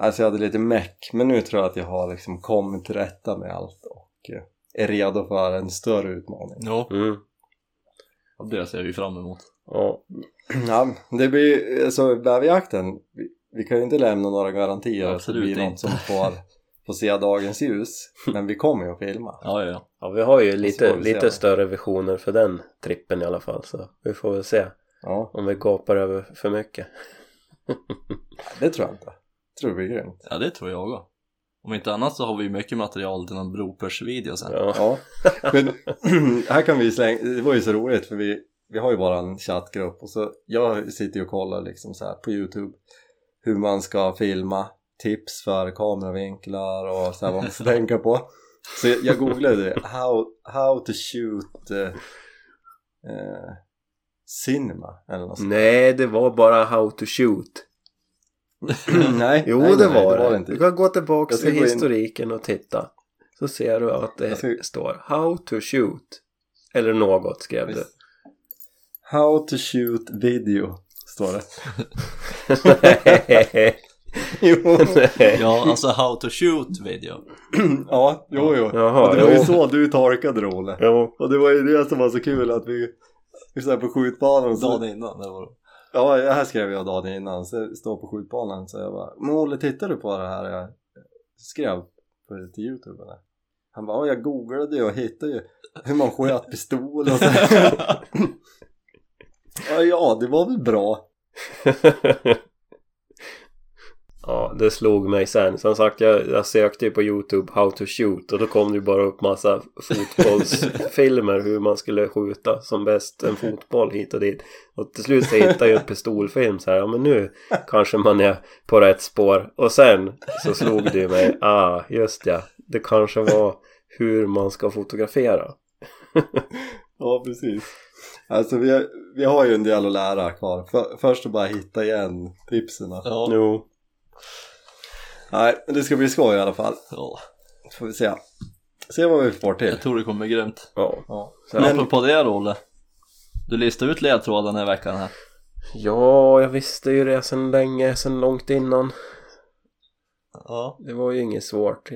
[SPEAKER 1] Alltså jag hade lite meck, men nu tror jag att jag har liksom kommit till rätta med allt och eh, är redo för en större utmaning.
[SPEAKER 3] Jo,
[SPEAKER 2] Mm.
[SPEAKER 3] det ser vi fram emot.
[SPEAKER 2] Ja.
[SPEAKER 1] Ja, det blir alltså bäverjakten, vi, vi kan ju inte lämna några garantier att det
[SPEAKER 3] Absolut
[SPEAKER 1] blir något
[SPEAKER 3] inte.
[SPEAKER 1] som får, får se dagens ljus, men vi kommer ju att filma.
[SPEAKER 3] Ja, ja, ja.
[SPEAKER 2] ja, vi har ju
[SPEAKER 1] Så
[SPEAKER 2] lite,
[SPEAKER 1] får vi se.
[SPEAKER 2] lite större visioner för den trippen i alla fall så vi får väl se
[SPEAKER 1] Ja,
[SPEAKER 2] om vi gapar över för mycket.
[SPEAKER 1] det tror jag inte. Jag tror det blir grymt.
[SPEAKER 3] Ja, det tror jag också. Om inte annat så har vi mycket material till någon bropers-video sen.
[SPEAKER 2] Ja.
[SPEAKER 1] Ja, men här kan vi slänga, det var ju så roligt för vi, vi har ju bara en chattgrupp och så jag sitter ju och kollar liksom så här på Youtube hur man ska filma, tips för kameravinklar och så här vad man ska tänka på. Så jag, jag googlade det, how, how to shoot eh, eh, cinema eller något sånt.
[SPEAKER 2] Nej, det var bara how to shoot.
[SPEAKER 1] nej,
[SPEAKER 2] Jo,
[SPEAKER 1] nej,
[SPEAKER 2] det,
[SPEAKER 1] nej,
[SPEAKER 2] var det.
[SPEAKER 1] var det
[SPEAKER 2] Du
[SPEAKER 1] inte.
[SPEAKER 2] kan gå tillbaka
[SPEAKER 1] Jag ska
[SPEAKER 2] till
[SPEAKER 1] gå in-
[SPEAKER 2] historiken och titta. Så ser du att det
[SPEAKER 1] Jag ska-
[SPEAKER 2] står How to shoot. Eller något skrev du.
[SPEAKER 1] How to shoot video står det. jo,
[SPEAKER 3] Ja, alltså how to shoot video.
[SPEAKER 1] ja, jo, jo.
[SPEAKER 2] Jaha,
[SPEAKER 1] och det var ju
[SPEAKER 2] jo.
[SPEAKER 1] så du tolkade Rolle.
[SPEAKER 2] jo.
[SPEAKER 1] Och det var ju det som var så kul att vi, vi så här på skjutbanan så,
[SPEAKER 3] Dagen innan, det var
[SPEAKER 1] Ja, det här skrev jag dagen innan, så jag står på skjutbanan så jag bara Men Olle tittar du på det här jag skrev på, till youtube eller? Han bara, ja jag googlade ju och hittade ju hur man sköt pistol och så ja, ja, det var väl bra
[SPEAKER 2] ja, det slog mig sen. Som sagt, jag, jag sökte ju på YouTube How to shoot och då kom det ju bara upp massa fotbollsfilmer hur man skulle skjuta som bäst en fotboll hit och dit. Och till slut så hittade jag ju en pistolfilm så här, ja men nu kanske man är på rätt spår. Och sen så slog det ju mig, ah just ja, det kanske var hur man ska fotografera.
[SPEAKER 1] Ja, precis Alltså vi har, vi har ju en del att lära kvar För, Först att bara hitta igen tipsen
[SPEAKER 3] Ja.
[SPEAKER 2] Jo.
[SPEAKER 1] Nej, men det ska bli skoj i alla fall
[SPEAKER 3] ja.
[SPEAKER 1] Får vi se Se vad vi får till
[SPEAKER 3] Jag tror det kommer bli grymt.
[SPEAKER 2] Ja.
[SPEAKER 1] Ja,
[SPEAKER 3] Men...
[SPEAKER 1] Men-
[SPEAKER 3] Apropå det då, Olle. Du listade ut ledtråden den här veckan här.
[SPEAKER 2] ja, jag visste ju det sedan länge, sedan långt innan.
[SPEAKER 3] Ja.
[SPEAKER 2] Det var ju inget svårt.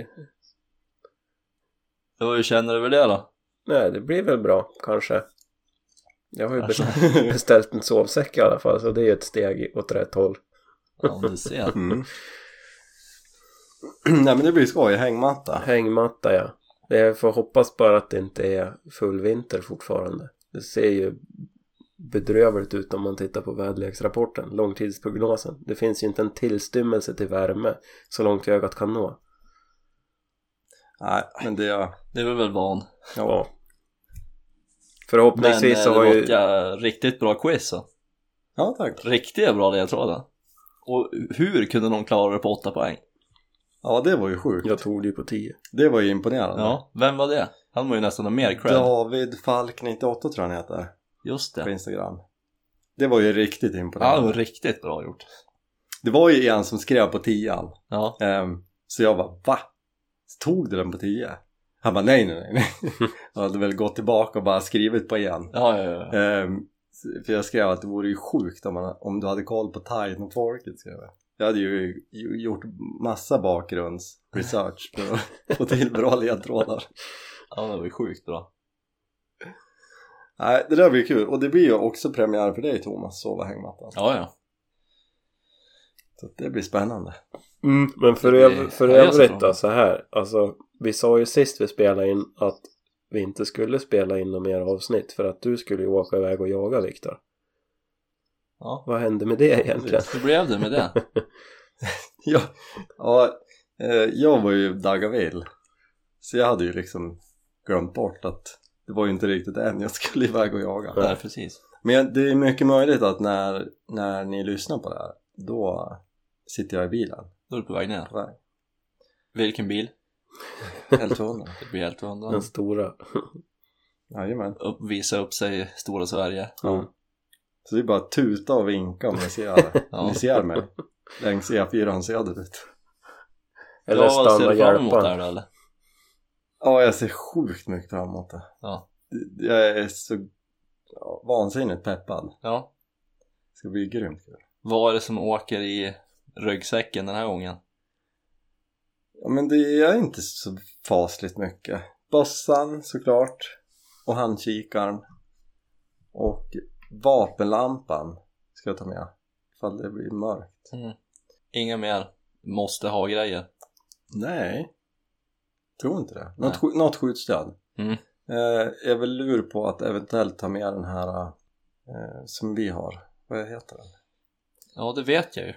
[SPEAKER 3] Hur känner du över det då?
[SPEAKER 2] Nej, det blir väl bra, kanske. Jag har ju be- beställt en sovsäck i alla fall, så det är ju ett steg åt rätt håll.
[SPEAKER 3] Ja, du ser.
[SPEAKER 1] Mm. Nej men det blir skoj, hängmatta.
[SPEAKER 2] Hängmatta, ja. Men Jag får hoppas bara att det inte är full vinter fortfarande. Det ser ju bedrövligt ut om man tittar på väderleksrapporten, långtidsprognosen. Det finns ju inte en tillstymmelse till värme så långt ögat kan nå.
[SPEAKER 1] Nej men det är...
[SPEAKER 3] Det är vi väl van.
[SPEAKER 1] Ja.
[SPEAKER 3] Men eh,
[SPEAKER 2] Förhoppningsvis
[SPEAKER 3] det
[SPEAKER 2] så har
[SPEAKER 3] var
[SPEAKER 2] ju...
[SPEAKER 3] ett ja, riktigt bra quiz så.
[SPEAKER 1] ja tack.
[SPEAKER 3] Riktigt bra ledtrådar. Och hur kunde någon klara det på 8 poäng?
[SPEAKER 1] Ja det var ju sjukt.
[SPEAKER 2] Jag tog det ju på 10.
[SPEAKER 1] Det var ju imponerande.
[SPEAKER 3] Ja, vem var det? Han var ju nästan ha mer cred.
[SPEAKER 1] David Falk 98 tror jag han heter
[SPEAKER 3] Just
[SPEAKER 1] på
[SPEAKER 3] det.
[SPEAKER 1] Instagram. Det var ju riktigt
[SPEAKER 3] Ja, det
[SPEAKER 1] imponerande.
[SPEAKER 3] var riktigt bra gjort.
[SPEAKER 1] Det var ju en som skrev på tian.
[SPEAKER 3] Ja,
[SPEAKER 1] Ehm, så jag bara va? Tog du den på 10? Han bara nej nej nej, nej. Jag hade väl gått tillbaka och bara skrivit på igen.
[SPEAKER 3] ja, ja, ja.
[SPEAKER 1] Ehm, s- för jag skrev att det vore ju sjukt om, man, om du hade koll på Titan och folket skrev jag. Jag hade ju ju- gjort massa bakgrundsresearch för att få till bra ledtrådar.
[SPEAKER 3] ja det var ju sjukt bra.
[SPEAKER 1] Nej, det där blir kul och det blir ju också premiär för dig Thomas, sova hängmattan.
[SPEAKER 3] Ja, ja.
[SPEAKER 1] Så att det blir spännande.
[SPEAKER 2] Mm, Men för,
[SPEAKER 3] Det blir-
[SPEAKER 2] öv- för
[SPEAKER 3] ja, jag ser fram
[SPEAKER 2] övrigt
[SPEAKER 3] emot.
[SPEAKER 2] då, så här. Alltså, vi sa ju sist vi spelade in att vi inte skulle spela in några mer avsnitt för att du skulle ju åka iväg och jaga Viktor.
[SPEAKER 3] ja.
[SPEAKER 2] Vad hände med det egentligen?
[SPEAKER 3] Hur blev det med det?
[SPEAKER 1] Ja, ja Eh, Jag var ju dagavill. Så jag hade ju liksom glömt bort att det var ju inte riktigt än jag skulle iväg och jaga.
[SPEAKER 2] Ja.
[SPEAKER 3] Nej, precis.
[SPEAKER 1] Men jag- det är mycket möjligt att när, när ni lyssnar på det här, då sitter jag i bilen
[SPEAKER 3] Då är du på väg ner.
[SPEAKER 1] på väg.
[SPEAKER 3] Vilken bil?
[SPEAKER 1] Helt hundra.
[SPEAKER 3] Det blir helt hundra.
[SPEAKER 2] Den stora.
[SPEAKER 1] Jajamän.
[SPEAKER 3] Upp, visa upp sig i stora Sverige.
[SPEAKER 1] Ja. Så det är bara att tuta och vinka om ni ser, om ni ser mig längs E4 söderut.
[SPEAKER 2] Eller stanna och hjälpa
[SPEAKER 3] där
[SPEAKER 2] en.
[SPEAKER 3] då, eller?
[SPEAKER 1] Ja, jag ser sjukt mycket fram emot det.
[SPEAKER 3] Ja.
[SPEAKER 1] Det- Jag är så ja, vansinnigt peppad.
[SPEAKER 3] ja.
[SPEAKER 1] Det ska bli grymt kul.
[SPEAKER 3] Vad är det som åker i ryggsäcken den här gången?
[SPEAKER 1] Ja, men det är inte så fasligt mycket. Bössan såklart och handkikaren och vapenlampan ska jag ta med ifall det blir mörkt.
[SPEAKER 3] Mm. Inga mer måste ha-grejer.
[SPEAKER 1] Nej, tror inte det.
[SPEAKER 3] Nej.
[SPEAKER 1] Något, sk- något skjutstöd.
[SPEAKER 3] Mm.
[SPEAKER 1] Eh, jag är väl lur på att eventuellt ta med den här eh, som vi har. Vad heter den?
[SPEAKER 3] Ja, det vet jag ju.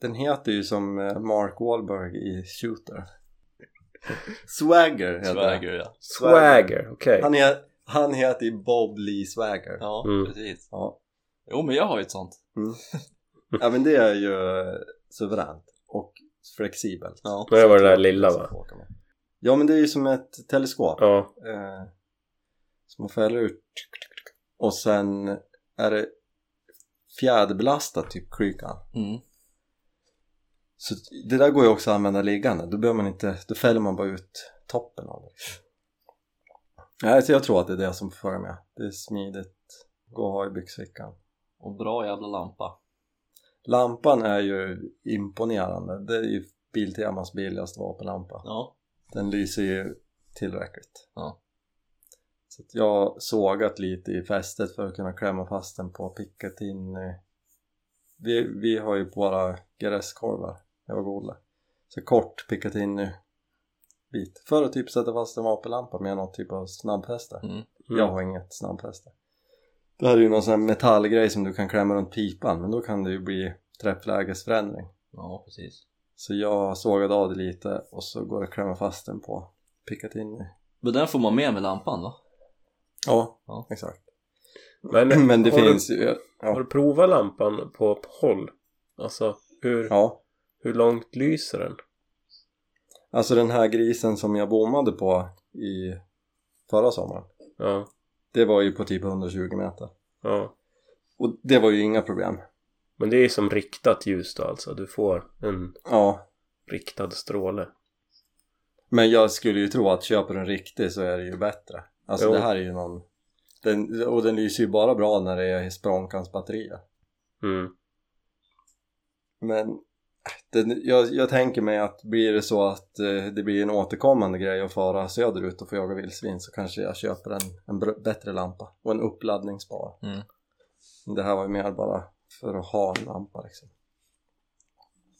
[SPEAKER 1] Den heter ju som eh, Mark Wahlberg i Shooter. Swagger heter
[SPEAKER 3] Swagger, ja.
[SPEAKER 2] Swagger,
[SPEAKER 1] han.
[SPEAKER 2] okej.
[SPEAKER 1] Han, är, han heter ju Bob Lee Swagger.
[SPEAKER 3] Ja,
[SPEAKER 2] Mm.
[SPEAKER 3] precis.
[SPEAKER 1] Ja.
[SPEAKER 3] Jo, men jag har ju ett sånt.
[SPEAKER 1] ja men det är ju eh, suveränt och flexibelt.
[SPEAKER 3] Ja.
[SPEAKER 2] Det var det där lilla, va?
[SPEAKER 1] Ja men det är ju som ett teleskop.
[SPEAKER 2] Ja,
[SPEAKER 1] eh, som man fäller ut och sen är det fjäderbelastat typ klykan
[SPEAKER 3] Mm.
[SPEAKER 1] så det där går ju också att använda liggande då behöver man inte, då fäller man bara ut toppen av det nej så jag tror att det är det som får följa med det är smidigt, gå och ha i byxfickan
[SPEAKER 3] Och bra jävla lampa.
[SPEAKER 1] lampan är ju imponerande det är ju Biltemas billigaste vapenlampa
[SPEAKER 3] Ja.
[SPEAKER 1] den lyser ju tillräckligt
[SPEAKER 3] Ja.
[SPEAKER 1] så att jag har sågat lite i fästet för att kunna klämma fast den på Picatinny vi, vi har ju på våra gräskorvar jag och Olle så kort Picatinny bit för att typ sätta fast en vapenlampa med någon typ av snabbfäste
[SPEAKER 3] Mm.
[SPEAKER 2] Mm.
[SPEAKER 1] jag har inget snabbfäste det här är ju någon sån här metallgrej som du kan klämma runt pipan men då kan det ju bli träfflägesförändring
[SPEAKER 3] Ja, precis.
[SPEAKER 1] så jag sågade av det lite och så går det att klämma fast den på Picatinny.
[SPEAKER 3] Men den får man med med lampan va?
[SPEAKER 1] Ja,
[SPEAKER 3] Ja.
[SPEAKER 1] exakt.
[SPEAKER 2] men,
[SPEAKER 1] Men det
[SPEAKER 2] har
[SPEAKER 1] finns
[SPEAKER 2] Du,
[SPEAKER 1] ju...
[SPEAKER 2] Har
[SPEAKER 1] Ja.
[SPEAKER 2] du provat lampan på på håll? Alltså, hur,
[SPEAKER 1] ja.
[SPEAKER 2] hur långt lyser den?
[SPEAKER 1] Alltså den här grisen som jag bommade på i förra sommaren.
[SPEAKER 2] Ja,
[SPEAKER 1] Det var ju på typ 120 meter.
[SPEAKER 2] ja.
[SPEAKER 1] Och det var ju inga problem.
[SPEAKER 2] Men det är som riktat ljus då alltså. Du får en
[SPEAKER 1] Ja.
[SPEAKER 2] riktad stråle.
[SPEAKER 1] Men jag skulle ju tro att köper du en riktig så är det ju bättre. Alltså
[SPEAKER 2] Jo.
[SPEAKER 1] det här är ju någon... Den, och den lyser ju bara bra när det är språnkans batterier.
[SPEAKER 2] Mm.
[SPEAKER 1] Men äh, den, jag, jag tänker mig att blir det så att eh, det blir en återkommande grej att fara söderut och få jaga vildsvin så kanske jag köper en, en br- bättre lampa och en uppladdningsbar.
[SPEAKER 3] Mm.
[SPEAKER 1] Det här var ju mer bara för att ha en lampa liksom.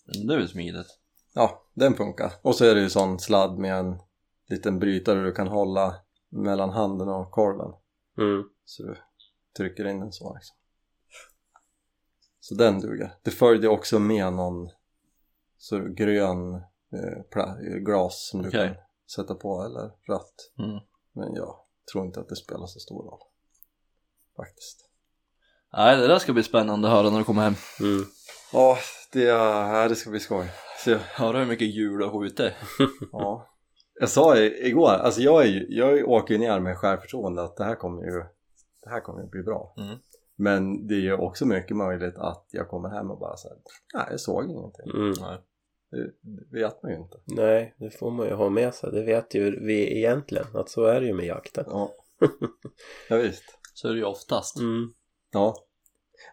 [SPEAKER 3] Men Det är väl smidigt.
[SPEAKER 1] Ja, den funkar. Och så är det ju sån sladd med en liten brytare du kan hålla mellan handen och korven.
[SPEAKER 2] Mm.
[SPEAKER 1] Så du trycker in den så liksom. Så den duger. Det följde också med någon så grön eh, pla- glas som du
[SPEAKER 3] Okej.
[SPEAKER 1] kan sätta på eller rött.
[SPEAKER 3] Mm.
[SPEAKER 1] Men jag tror inte att det spelar så stor roll. Faktiskt.
[SPEAKER 3] Nej, det där ska bli spännande att höra när du kommer hem.
[SPEAKER 2] Mm.
[SPEAKER 1] Ja, det, äh, det ska bli skoj. Så jag,
[SPEAKER 3] Höra hur mycket hjul du har skjutit.
[SPEAKER 1] ja. jag sa i- igår, alltså jag, är, ju- jag åker ju ner med självförtroende att det här kommer ju, det här kommer ju bli bra.
[SPEAKER 3] Mm.
[SPEAKER 1] Men det är ju också mycket möjligt att jag kommer hem och bara säger nej jag såg ingenting.
[SPEAKER 2] Mm.
[SPEAKER 3] Nej.
[SPEAKER 1] Det
[SPEAKER 3] Mm.
[SPEAKER 1] det vet man ju inte.
[SPEAKER 2] Nej, det får man ju ha med sig. Det vet ju vi egentligen. Att så är det ju med jakten.
[SPEAKER 1] Ja. ja visst.
[SPEAKER 3] Så är det ju oftast.
[SPEAKER 2] Mm.
[SPEAKER 1] Ja.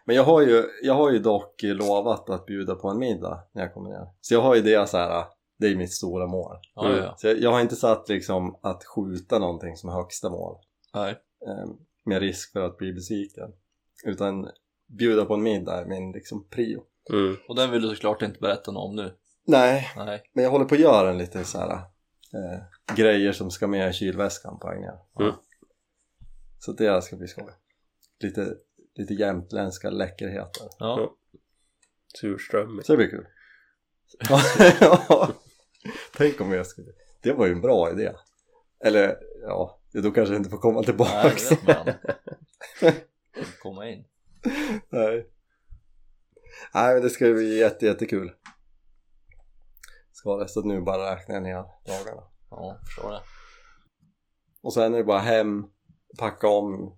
[SPEAKER 1] Men jag har, ju, jag har ju dock lovat att bjuda på en middag när jag kommer ner. Så jag har ju det så här, det är mitt stora mål.
[SPEAKER 3] Ja, ja, ja.
[SPEAKER 1] Så jag, jag har inte satt liksom att skjuta någonting som högsta mål
[SPEAKER 3] Nej.
[SPEAKER 1] eh, med risk för att bli besviken. Utan bjuda på en middag är min liksom prio.
[SPEAKER 2] Mm.
[SPEAKER 3] Och den vill du såklart inte berätta något om nu.
[SPEAKER 1] Nej,
[SPEAKER 3] Nej.
[SPEAKER 1] men jag håller på att göra en liten så här eh, grejer som ska med i kylväskan på vägen ner.
[SPEAKER 2] Mm.
[SPEAKER 1] Så det ska bli skoj. Lite, lite jämtländska läckerheter.
[SPEAKER 3] Ja.
[SPEAKER 2] Mm, Ja. Surströmming.
[SPEAKER 1] Så det blir kul. Ja, ja. Tänk om jag skulle... Det var ju en bra idé. Eller ja, då kanske jag inte får komma tillbaka.
[SPEAKER 3] Nej, det vet man. Komma in.
[SPEAKER 1] Nej. Nej, men det ska ju bli jätte, jättekul. Ska det, så att nu bara räknar jag ner dagarna.
[SPEAKER 3] Ja, förstår det.
[SPEAKER 1] Och sen är det bara hem, packa om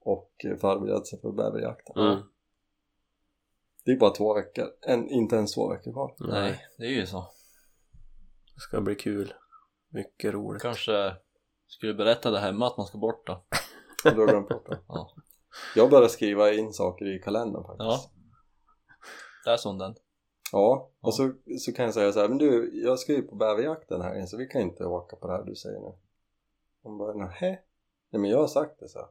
[SPEAKER 1] och förbereda sig för bäverjakten.
[SPEAKER 2] Mm.
[SPEAKER 1] Det är bara två veckor, en, inte ens två veckor kvar.
[SPEAKER 3] Nej, det är ju så.
[SPEAKER 2] Det ska bli kul. Mycket roligt.
[SPEAKER 3] Kanske skulle berätta det hemma att man ska bort då.
[SPEAKER 1] Och då har jag glömt bort det.
[SPEAKER 3] Ja.
[SPEAKER 1] Jag börjar skriva in saker i kalendern faktiskt.
[SPEAKER 3] Ja. Där som den.
[SPEAKER 1] Ja, och
[SPEAKER 3] Ja.
[SPEAKER 1] så, så kan jag säga så här, men du, jag ska ju på bäverjakten här så vi kan inte åka på det här du säger nu. Hon bara, nähä? Nej men jag har sagt det så. här."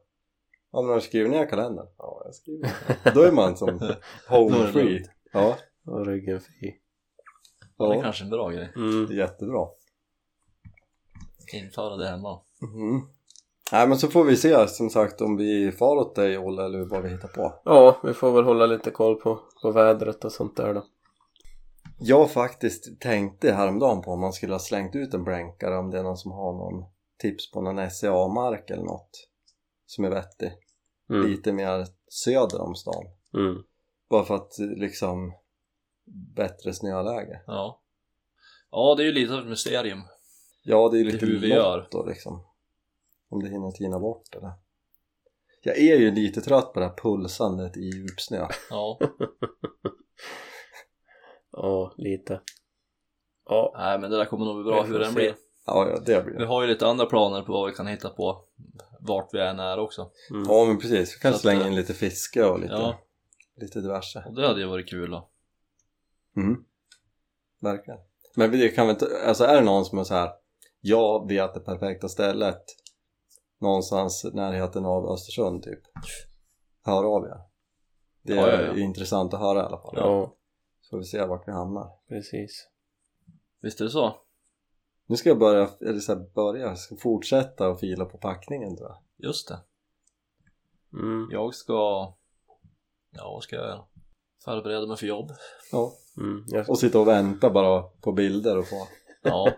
[SPEAKER 1] Ja men har du skrivit ner i kalendern? Ja, jag skriver ner. Då är man som
[SPEAKER 3] Då
[SPEAKER 1] home
[SPEAKER 3] är det
[SPEAKER 1] free.
[SPEAKER 3] lugnt.
[SPEAKER 1] Ja,
[SPEAKER 2] Och ryggen fri.
[SPEAKER 3] Ja. Det är
[SPEAKER 1] ja,
[SPEAKER 3] kanske är en bra grej.
[SPEAKER 2] Mm.
[SPEAKER 1] jättebra.
[SPEAKER 3] Införa det hemma.
[SPEAKER 1] Mhm. Nej men så får vi se som sagt om vi far åt dig Olle eller vad vi hittar på.
[SPEAKER 2] Ja, vi får väl hålla lite koll på, på vädret och sånt där då.
[SPEAKER 1] Jag faktiskt tänkte häromdagen på om man skulle ha slängt ut en blänkare om det är någon som har någon tips på någon SCA-mark eller något som är vettig.
[SPEAKER 2] Mm.
[SPEAKER 1] lite mer söder om stan
[SPEAKER 2] Mm.
[SPEAKER 1] bara för att eh, liksom bättre snöläge
[SPEAKER 3] Ja. Ja, det är ju lite av ett mysterium.
[SPEAKER 1] ja det är ju
[SPEAKER 3] Det är
[SPEAKER 1] lite
[SPEAKER 3] hur vi gör.
[SPEAKER 1] lotto liksom om det hinner tina bort eller jag är ju lite trött på det här pulsandet i djupsnö
[SPEAKER 3] Ja.
[SPEAKER 2] Ja, lite. Ja,
[SPEAKER 3] Nej, men det där kommer nog bli bra
[SPEAKER 2] Vi
[SPEAKER 3] hur
[SPEAKER 2] får
[SPEAKER 3] den
[SPEAKER 2] se.
[SPEAKER 3] blir.
[SPEAKER 1] ja, ja det blir
[SPEAKER 3] Vi
[SPEAKER 1] det
[SPEAKER 3] har ju lite andra planer på vad vi kan hitta på. Vart vi än är också.
[SPEAKER 2] mm.
[SPEAKER 1] ja men precis, vi
[SPEAKER 3] Så
[SPEAKER 1] kanske
[SPEAKER 3] att,
[SPEAKER 1] slänga
[SPEAKER 3] eh,
[SPEAKER 1] in lite fiske och lite,
[SPEAKER 3] Ja.
[SPEAKER 1] lite diverse
[SPEAKER 3] Och det hade ju varit kul då.
[SPEAKER 1] Mm. Verkligen. Men det kan väl inte, alltså är det någon som är så här, jag vet det perfekta stället någonstans i närheten av Östersund typ. Hör av er. Det är
[SPEAKER 3] Ja, ja, ja.
[SPEAKER 1] intressant att höra i alla fall.
[SPEAKER 2] ja,
[SPEAKER 1] Så får vi se vart vi hamnar.
[SPEAKER 2] precis.
[SPEAKER 3] Visst är det så?
[SPEAKER 1] Nu ska jag börja, eller så här, börja, jag ska fortsätta att fila på packningen tror jag.
[SPEAKER 3] Just det.
[SPEAKER 2] Mm.
[SPEAKER 3] Jag ska... Ja, vad ska jag göra? Förbereda mig för jobb.
[SPEAKER 1] Ja.
[SPEAKER 2] Mm. Jag,
[SPEAKER 1] Och sitta och vänta bara på bilder och få.
[SPEAKER 3] Ja.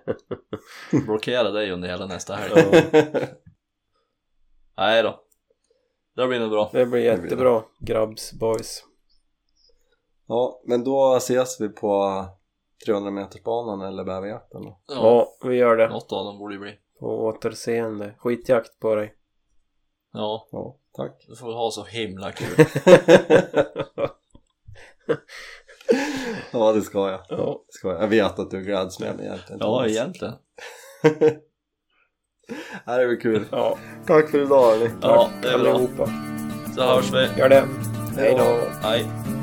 [SPEAKER 3] Blockera dig under hela nästa helg.
[SPEAKER 2] ja,
[SPEAKER 3] Nej då. Det blir nog bra.
[SPEAKER 2] det blir jättebra. Grabbs, boys.
[SPEAKER 1] ja, men då ses vi på 300 metersbanan eller bäverjakten då.
[SPEAKER 3] Ja.
[SPEAKER 2] Ja, vi gör det.
[SPEAKER 3] Något av dem borde ju bli.
[SPEAKER 2] På återseende. Skitjakt på dig.
[SPEAKER 3] Ja,
[SPEAKER 1] Ja, tack.
[SPEAKER 3] du får väl ha så himla kul.
[SPEAKER 1] Ja det ska jag.
[SPEAKER 2] Ja.
[SPEAKER 1] Det ska jag. jag vet att du gläds med mig egentligen.
[SPEAKER 3] Ja, egentligen.
[SPEAKER 1] Det här är väl kul.
[SPEAKER 2] Ja,
[SPEAKER 1] Tack för idag hörni.
[SPEAKER 3] Ja, det är bra.
[SPEAKER 2] allihopa.
[SPEAKER 3] Så hörs vi.
[SPEAKER 2] Gör det. Hej då.
[SPEAKER 3] Hej.
[SPEAKER 1] Hej